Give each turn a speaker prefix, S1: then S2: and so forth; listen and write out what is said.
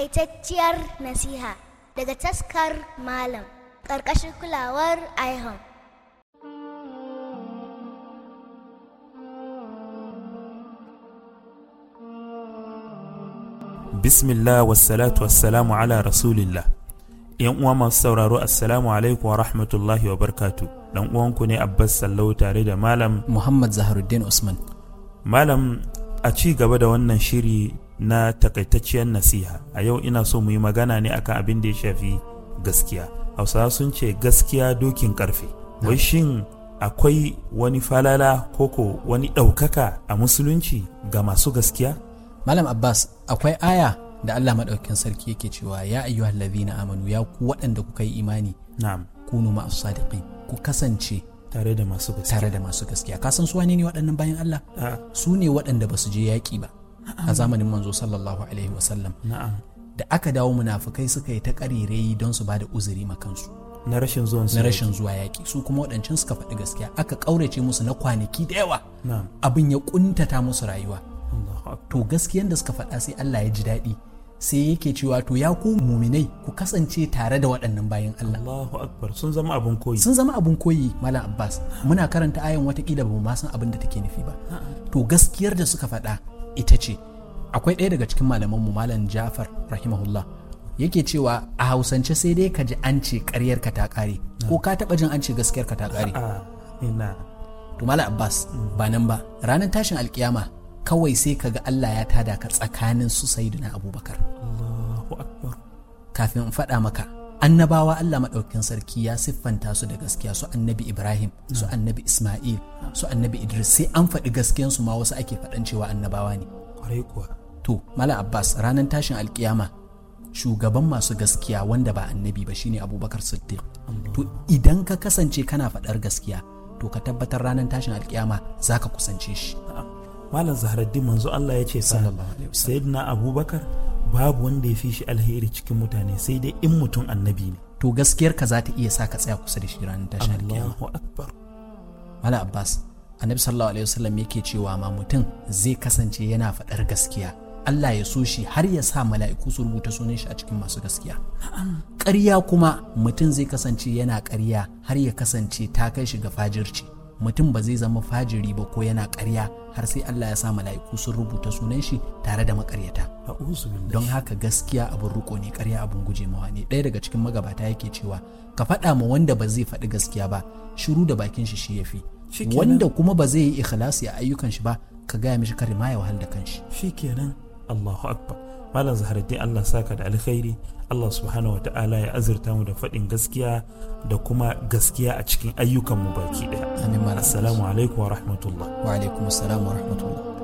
S1: Takaitacciyar nasiha daga taskar Malam ƙarƙashin kulawar IHOM.
S2: Bismillah wassalatu wassalamu ala rasulillah. ‘Yan uwa masu sauraro assalamu alaikum wa rahmatullahi wa barkatu. Dan uwanku ne Abbas Sallau tare da Malam.
S3: Muhammad Zaharuddin Usman.
S2: Malam a ci gaba da wannan shiri na takaitacciyar nasiha a yau ina so mu yi magana ne akan abin da ya shafi gaskiya hausawa sun ce gaskiya dokin karfe wai shin akwai wani falala koko wani ɗaukaka a musulunci ga masu gaskiya
S3: Malam Abbas akwai aya da Allah maɗaukin sarki yake cewa ya ayyuhal ladhina amanu ya ku waɗanda kuka yi imani
S2: na'am
S3: kunu ma'as sadiqin ku kasance
S2: tare da masu gaskiya
S3: tare da masu gaskiya ka san su wane ne waɗannan bayan Allah
S2: Ah,
S3: su ne waɗanda ba su je yaƙi ba a zamanin manzo sallallahu alaihi wasallam
S2: na'am
S3: da aka dawo munafukai suka yi ta ƙarirai don su ba da uzuri ma kansu
S2: na rashin zuwan su
S3: na rashin zuwa yaƙi su kuma waɗancan suka faɗi gaskiya aka ƙaurace musu na kwanaki da yawa
S2: na'am
S3: abin ya ƙuntata musu rayuwa
S2: Allahu akbar.
S3: to gaskiyan da suka faɗa sai Allah ya ji daɗi sai yake cewa to ya ku muminai ku kasance tare da waɗannan bayan Allah
S2: Allahu akbar sun zama abin koyi
S3: sun zama abin koyi Malam Abbas muna karanta ayan watakila ba mu ma san abin da take nufi ba to gaskiyar da suka faɗa ita ce akwai ɗaya daga cikin malamanmu Malam Jafar rahimahullah yake cewa a hausance sai dai ka ji an ce ƙaryar ka ta ƙare ko ka taɓa jin an ce gaskiyar ka ta ƙare
S2: a ina
S3: to Malam Abbas ba nan ba ranar tashin alkiyama kawai sai ka ga Allah ya tada ka tsakanin su Sayyidina Abubakar
S2: Allahu akbar
S3: kafin in faɗa maka annabawa Allah maɗaukin sarki ya siffanta su da gaskiya su annabi Ibrahim su annabi Ismail su annabi Idris sai an faɗi gaskiyansu ma wasu ake faɗan cewa annabawa ne
S2: kwarai kuwa
S3: to Mala Abbas ranar tashin alkiyama shugaban masu gaskiya wanda ba annabi ba shine Abubakar Siddiq to idan ka kasance kana faɗar gaskiya to ka tabbatar ranar tashin alkiyama zaka kusance shi
S2: Na'am. Malam Zaharaddin manzo Allah ya ce fa
S3: Sallallahu alaihi wasallam.
S2: Sayyidina Abubakar babu wanda ya fi shi alheri cikin mutane sai dai in mutum annabi ne.
S3: to gaskiyar ka za ta iya sa ka tsaya kusa da shi ranar tashin alkiyama
S2: Allahu Akbar.
S3: Mala Abbas, Annabi sallallahu alaihi wasallam yake cewa ma mutum zai kasance yana faɗar gaskiya. Allah ya so shi har ya sa mala'iku su rubuta sunan shi a cikin masu gaskiya. Ƙarya kuma mutum zai kasance yana ƙarya har ya kasance ta kai shi ga fajirci. Mutum ba zai zama fajiri ba ko yana ƙarya har sai Allah ya sa mala'iku sun rubuta sunan shi tare da maƙaryata.
S2: A'udhu billahi.
S3: don haka gaskiya abin riko ne karya abin gujemawa ne ɗaya daga cikin magabata yake cewa ka faɗa ma wanda ba zai faɗi gaskiya ba shiru da bakin shi shi yafi
S2: Shikenan.
S3: wanda kuma ba zai yi ikhlasi a ayyukan shi ba ka gaya mishi kare ma ya wahal da kanshi
S2: Shikenan Allahu Akbar. Malam Zaharaddin Allah saka da alkhairi. Allah subhanahu wata'ala ya azurta mu da faɗin gaskiya da kuma gaskiya a cikin ayyukanmu baki ɗaya.
S3: amin mara
S2: Assalamu alaikum wa rahmatullah.
S3: wa alaikum assalam wa rahmatullah